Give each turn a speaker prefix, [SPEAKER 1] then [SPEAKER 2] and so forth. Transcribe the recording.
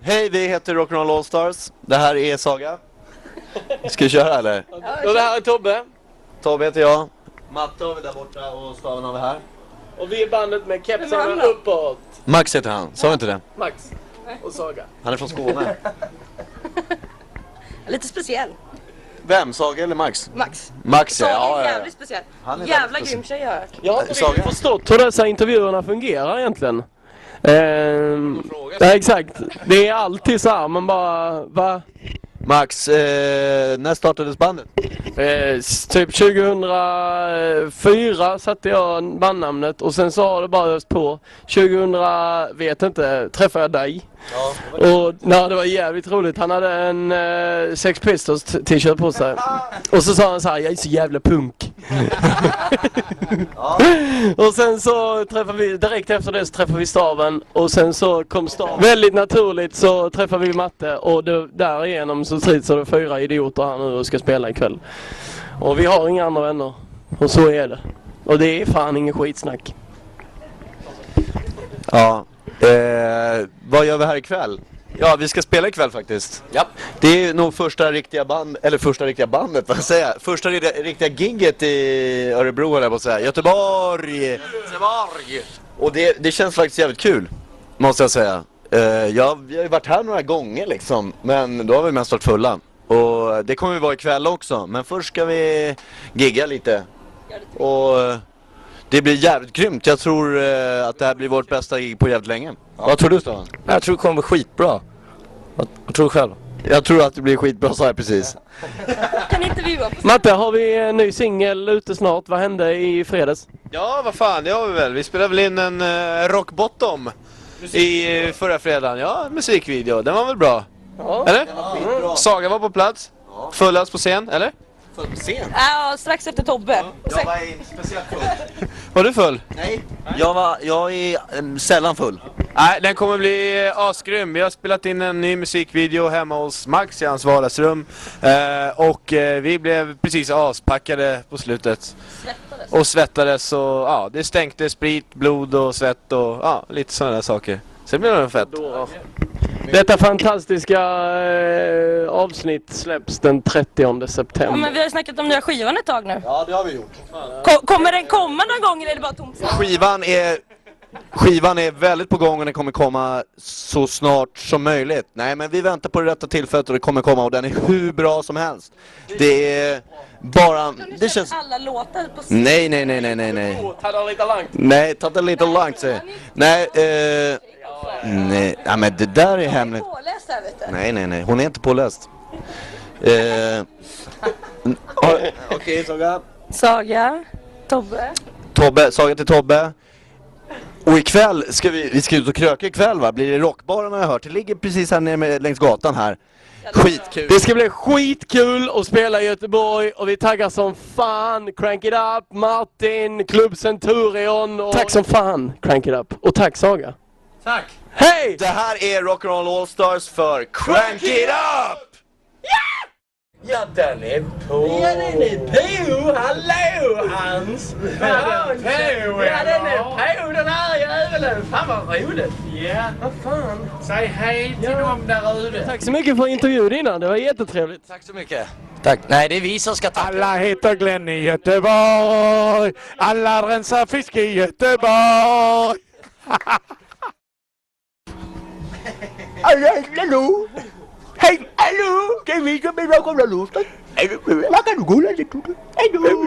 [SPEAKER 1] Hej, vi heter Rock'n'Roll Allstars. Det här är Saga. Ska vi köra eller?
[SPEAKER 2] Och det här är Tobbe.
[SPEAKER 1] Tobbe heter jag. Matte har vi där borta och Staven har vi här.
[SPEAKER 2] Och vi är bandet med
[SPEAKER 3] Vem
[SPEAKER 2] kepsarna
[SPEAKER 3] är han då?
[SPEAKER 2] uppåt.
[SPEAKER 1] Max heter han, sa jag inte det?
[SPEAKER 2] Max och Saga.
[SPEAKER 1] Han är från Skåne.
[SPEAKER 3] Lite speciell.
[SPEAKER 1] Vem? Saga eller Max?
[SPEAKER 3] Max.
[SPEAKER 1] Max
[SPEAKER 3] Saga
[SPEAKER 1] ja,
[SPEAKER 3] är
[SPEAKER 1] ja, ja.
[SPEAKER 3] jävligt speciell.
[SPEAKER 1] Han är väldigt
[SPEAKER 3] Jävla
[SPEAKER 1] speciell.
[SPEAKER 3] grym tjej har jag hört.
[SPEAKER 2] Jag har inte
[SPEAKER 1] Saga.
[SPEAKER 2] riktigt förstått hur dessa intervjuerna fungerar egentligen. Ehm,
[SPEAKER 1] fråga.
[SPEAKER 2] nej, exakt. Det är alltid så här, man bara, va?
[SPEAKER 1] Max, eh, när startades bandet?
[SPEAKER 2] Eh, s- typ 2004 satte jag bandnamnet och sen så har det bara öst på. 2000, vet inte, träffade jag dig.
[SPEAKER 1] Ja,
[SPEAKER 2] Och nej, det var jävligt roligt. Han hade en eh, Sex Pistols t- t-shirt på sig. Och så sa han så här, jag är så jävla punk. och sen så träffade vi, direkt efter det så träffade vi Staven. Och sen så kom Staven. Väldigt naturligt så träffade vi Matte och det, därigenom så trivs det fyra idioter här nu och ska spela ikväll. Och vi har inga andra vänner. Och så är det. Och det är fan ingen skitsnack.
[SPEAKER 1] ja. Eh, vad gör vi här ikväll? Ja, vi ska spela ikväll faktiskt.
[SPEAKER 4] Ja.
[SPEAKER 1] Det är nog första riktiga band, eller första riktiga bandet, vad säger jag? Första ri- riktiga gigget i Örebro höll jag på att säga. Göteborg!
[SPEAKER 4] Göteborg!
[SPEAKER 1] Och det, det känns faktiskt jävligt kul, måste jag säga. Eh, jag, vi har ju varit här några gånger liksom, men då har vi mest varit fulla. Och det kommer vi vara ikväll också, men först ska vi gigga lite. Och eh, det blir jävligt grymt. Jag tror eh, att det här blir vårt bästa gig på jävligt länge. Vad tror du Stavan?
[SPEAKER 4] Jag tror det kommer bli skitbra. Vad vad tror du själv?
[SPEAKER 1] Jag tror att det blir skitbra så här precis.
[SPEAKER 3] Kan inte vi vara på
[SPEAKER 2] Matte, har vi en ny singel ute snart? Vad hände i fredags?
[SPEAKER 5] Ja, vad fan, det har vi väl. Vi spelade väl in en uh, Rock Bottom i eh, förra fredagen. Ja, en musikvideo. Den var väl bra? Eller? Saga var på plats. Fullast på scen, eller?
[SPEAKER 3] Ja, strax efter Tobbe. Sen,
[SPEAKER 5] Var du full?
[SPEAKER 1] Jag, var, jag är em, sällan full.
[SPEAKER 5] Nej, den kommer bli eh, asgrym. Vi har spelat in en ny musikvideo hemma hos Max i hans vardagsrum. Eh, och eh, vi blev precis aspackade på slutet.
[SPEAKER 3] Svettades.
[SPEAKER 5] Och svettades och ja, det stänkte sprit, blod och svett och ja, lite sådana där saker. Så det blev nog fett.
[SPEAKER 2] Detta fantastiska eh, avsnitt släpps den 30
[SPEAKER 3] ja, men
[SPEAKER 2] september.
[SPEAKER 3] vi har ju snackat om nya skivan ett tag nu.
[SPEAKER 1] Ja, det har vi gjort.
[SPEAKER 3] Ko- kommer den komma någon gång eller är det bara tomt?
[SPEAKER 1] Skivan är, skivan är väldigt på gång och den kommer komma så snart som möjligt. Nej men vi väntar på det rätta tillfället och det kommer komma och den är hur bra som helst. Det är bara, det känns...
[SPEAKER 3] alla låtar på scen.
[SPEAKER 1] Nej, nej, nej, nej, nej, nej.
[SPEAKER 2] Hade lite långt.
[SPEAKER 1] Nej, ta det lite lugnt säger jag. Nej, eh... Nej, ja, men det där är hemligt.
[SPEAKER 3] Påläst här vet du.
[SPEAKER 1] Nej, nej, nej, hon är inte påläst. Eh... har- Okej, Saga.
[SPEAKER 3] Saga, Tobbe.
[SPEAKER 1] Tobbe, Saga till Tobbe. Och ikväll ska vi, vi ska ut och kröka ikväll va? Blir det rockbaren har jag hört. Det ligger precis här nere med, längs gatan här. Skitkul!
[SPEAKER 2] Det ska bli skitkul att spela i Göteborg och vi taggar som fan. Crank it up, Martin, Club Centurion och... Tack som fan, Crank it up. Och tack Saga. Tack! Hej!
[SPEAKER 1] Det här är Rock'n'Roll Allstars för Crank It Up!
[SPEAKER 4] Ja, den är på! Ja, den är på! Hallå, Hans! Ja, den är på! Ja, den är på, den här jäveln! Fan vad roligt! Ja, vad fan! Säg hej till dem där ute!
[SPEAKER 2] Tack så mycket för intervjun innan, det var jättetrevligt.
[SPEAKER 4] Tack så mycket! Tack! Nej, det är vi som ska tacka!
[SPEAKER 6] Alla heter Glenn i Göteborg. Alla rensar fisk i Göteborg. Alla, hallå! Hej, hallå! Det är vi som är bakom den låten. Vad kan du kolla det? Hallå!